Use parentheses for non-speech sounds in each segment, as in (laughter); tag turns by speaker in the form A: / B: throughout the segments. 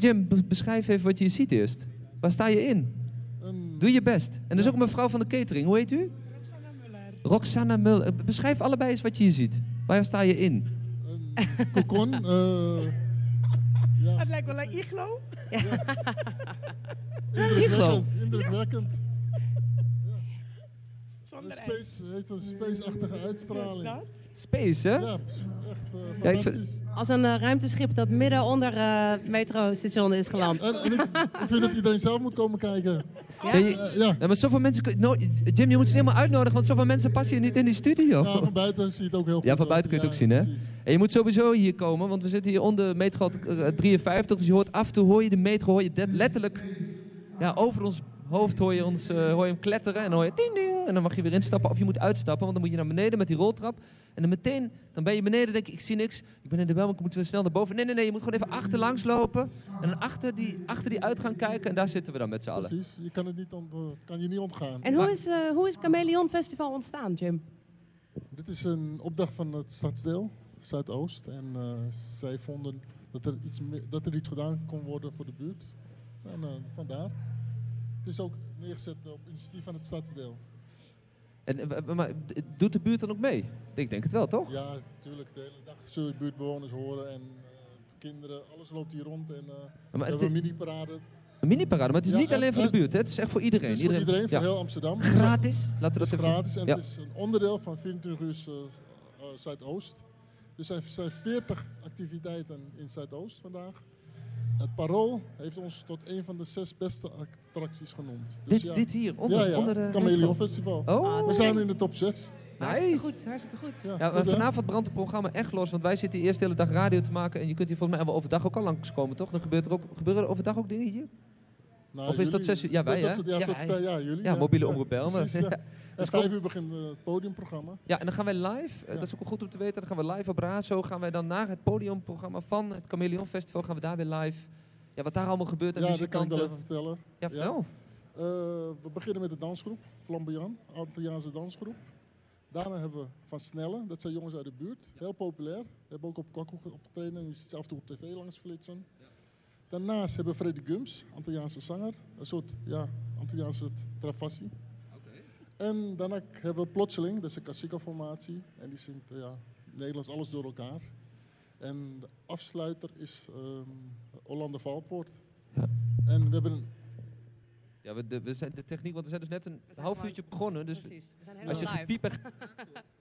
A: Jim, be- beschrijf even wat je hier ziet eerst. Waar sta je in?
B: Een-
A: Doe je best. En er is ook een mevrouw van de catering. Hoe heet u? Roxana Muller. Eh, Beschrijf allebei eens wat je hier ziet. Waar sta je in?
B: een cocon. eh, ja,
C: Het lijkt wel een iglo.
B: indrukwekkend. Indrukwekkend. De
C: Zonder ijs.
B: space heeft een space-achtige
C: Dus
B: uitstraling.
C: dat.
A: Space, hè?
B: Ja, precies. echt eh,
A: Ja, ik vind-
B: fantastisch.
D: Als een eh, ruimteschip dat midden onder eh, metrostation is geland.
B: En, en ik, ik vind dat iedereen zelf moet komen kijken.
D: Ja?
A: Ja, je-
B: Eh, ja.
A: Ja, maar zoveel mensen... kun- no- Jim, je moet ze helemaal uitnodigen, want zoveel mensen passen hier niet in die studio.
B: ja, van buiten zie je het ook heel goed.
A: Ja, van buiten kun je het ook zien, hè?
B: precies.
A: En je moet sowieso hier komen, want we zitten hier onder metro eh, 53. Dus je hoort af en toe, hoor je de metro, hoor je dat letterlijk... Ja, over ons hoofd hoor je, ons, eh, hoor je hem kletteren en dan hoor je ding ding. En dan mag je weer instappen of je moet uitstappen, want dan moet je naar beneden met die roltrap. En dan meteen, dan ben je beneden, denk ik, ik zie niks. Ik ben in de wel, maar ik moet weer snel naar boven. Nee, nee, nee, je moet gewoon even achterlangs lopen. En dan achter die, achter die uitgang kijken en daar zitten we dan met z'n allen.
B: Precies, je kan het niet ont- kan je niet ontgaan.
D: En hoe is, eh, hoe is Chameleon Festival ontstaan, Jim?
B: Dit is een opdracht van het stadsdeel, Zuidoost. En eh, zij vonden dat er, iets me- dat er iets gedaan kon worden voor de buurt. En eh, vandaar. Het is ook neergezet op initiatief van het stadsdeel.
A: En, eh, w- maar d- doet de buurt dan ook mee? Ik denk het wel, toch?
B: Ja, natuurlijk. De hele dag zul je buurtbewoners horen en eh, kinderen. Alles loopt hier rond. En, eh we
A: Maar het,
B: hebben een mini-parade.
A: Een mini-parade, maar het is
B: Ja,
A: niet alleen
B: en-
A: voor de
B: en-
A: buurt, hè? het is echt voor iedereen.
B: Het is voor iedereen, voor
A: ja.
B: heel Amsterdam.
A: Gratis? Laten we
B: Het
A: dat
B: is
A: even...
B: gratis en
A: ja.
B: het is een onderdeel van 24 uur eh, eh, Zuidoost. Dus er zijn 40 activiteiten in Zuidoost vandaag. Het Parool heeft ons tot een van de zes beste attracties genoemd. Dus
A: Dit,
B: ja,
A: dit hier, onder,
B: ja, ja,
A: onder de...
B: Chameleon Festival.
A: Oh,
B: We zijn in de top 6.
D: Hartstikke
A: nice.
D: goed, hartstikke goed.
B: Ja,
A: Ja, maar
B: goed, hè?
A: vanavond brandt het programma echt los, want wij zitten hier eerst de hele dag radio te maken. En je kunt hier volgens mij wel overdag ook al langskomen, toch? Dan gebeurt er ook, gebeuren er overdag ook dingen hier?
B: Nou,
A: of is dat zes uur? Ja, wij,
B: dat-
A: hè?
B: Ja,
A: Ja,
B: tot,
A: wij.
B: eh, ja, jullie.
A: Ja,
B: (laughs)
A: mobiele omroep Bijlmer.
B: precies, ja.
A: Ja,
B: En
A: klopt.
B: vijf uur begint eh, het podiumprogramma.
A: (laughs) Ja, en dan gaan wij live, eh,
B: Ja.
A: dat is ook wel goed om te weten, dan gaan we live op Razo, gaan wij dan naar het podiumprogramma van het Chameleon Festival, gaan we daar weer live... Ja, wat daar allemaal gebeurt en
B: Ja, dat kan ik
A: muzikanten...
B: wel even vertellen.
A: Ja, vertel.
B: Eh, we beginnen met de dansgroep, Flamboyant, Antilliaanse dansgroep. Daarna hebben we Van Snellen, dat zijn jongens uit de buurt. Heel populair. We hebben ook op Kwakko ge- opgetreden en die ziet ze af en toe op tv langs flitsen. Daarnaast hebben we Freddy Gums, Antilliaanse zanger. Een soort, ja, Antilliaanse t- travassie. En daarna k- hebben we Plotseling, dat is een klassieke-formatie. En die zingt, eh, ja, Nederlands alles door elkaar. En de afsluiter is ehm Hollander Valpoort.
A: Ja.
B: En we hebben een
A: Ja, we, de, we zijn de techniek, want we zijn dus net een
D: zijn
A: half
D: gewoon-
A: uurtje begonnen, dus...
D: Precies, we zijn
A: Als je
D: helemaal live.
A: gepiep en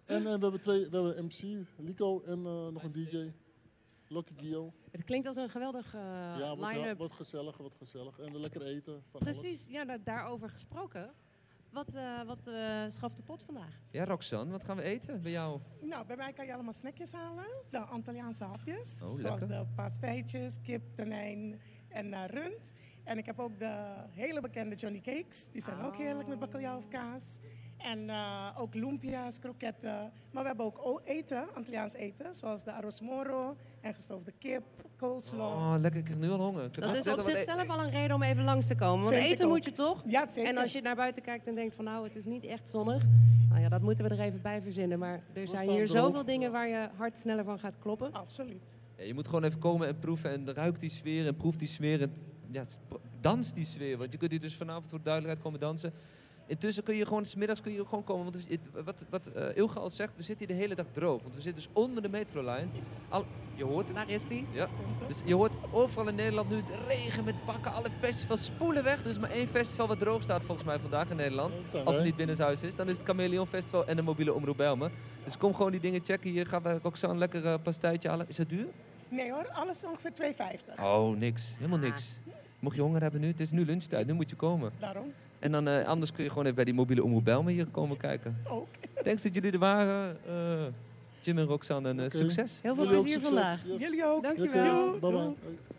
B: En eh, we hebben twee, we hebben een MC, Lico en eh, nog een DJ, Lucky Gio.
D: Het klinkt als een geweldig eh,
B: ja, wat,
D: line-up.
B: wat gezellig, wat gezellig. En lekker eten van alles.
D: Precies, ja, nou, daarover gesproken. Wat, eh wat eh, schaf de pot vandaag?
A: Ja, Roxanne, wat gaan we eten bij jou?
C: Nou, bij mij kan je allemaal snackjes halen. De Antilliaanse hapjes.
A: Oh,
C: zoals
A: lekker.
C: de pastijtjes, kip, tonijn en eh, rund. En ik heb ook de hele bekende Johnny Cakes. Die zijn ook heerlijk met bacalhau of kaas. En eh, ook lumpia's, kroketten. Maar we hebben ook o- eten, Antilliaans eten. Zoals de arroz moro en gestoofde kip, coleslaw.
A: Oh, lekker, ik krijg nu al honger. Ik heb
D: Dat
A: net
D: is
A: al
D: op
A: wat e-
D: zichzelf al een reden om even langs te komen. Want
C: Vind ik
D: eten moet
C: ook.
D: je toch?
C: Ja, zeker.
D: En als je naar buiten kijkt en denkt van nou, het is niet echt zonnig. Nou ja, dat moeten we er even bij verzinnen. Maar er zijn
B: staan
D: hier
B: er
D: zoveel
B: ook.
D: dingen waar je hart sneller van gaat kloppen.
C: Absoluut.
A: Ja, je moet gewoon even komen en proeven en ruik die sfeer en proef die sfeer en ja, sp- dans die sfeer. Want je kunt hier dus vanavond voor de duidelijkheid komen dansen. Intussen kun je gewoon, smiddags kun je gewoon komen. Want het is- het- wat, wat eh, Ilga al zegt, we zitten hier de hele dag droog. Want we zitten dus onder de metrolijn. Al, je hoort het.
D: Daar is die.
A: Ja. Dus je hoort overal in Nederland nu de regen met bakken, alle festivals spoelen weg. Er is maar één festival wat droog staat volgens mij vandaag in Nederland.
B: Dat zijn
A: Als het
B: wij.
A: niet binnenshuis is, dan is het Chameleon Festival en de mobiele omroep Belmen. Dus kom gewoon die dingen checken. Hier gaan we Roxanne lekker eh, pastijtje halen. Is dat duur?
C: Nee hoor, alles ongeveer 2,50.
A: Oh, niks. Helemaal niks. Mocht je honger hebben nu, het is nu lunchtijd, nu moet je komen.
C: Daarom
A: En dan eh, anders kun je gewoon even bij die mobiele omroep Belmen hier komen kijken.
C: ook.
A: Thanks dat jullie er waren, eh, Jim en Roxanne, en eh,
B: Oké.
A: succes.
D: Heel veel
B: Jullie ook
D: plezier
B: succes.
D: vandaag.
B: Yes.
C: Jullie ook.
B: Oké,
D: Dankjewel.
B: Bye bye.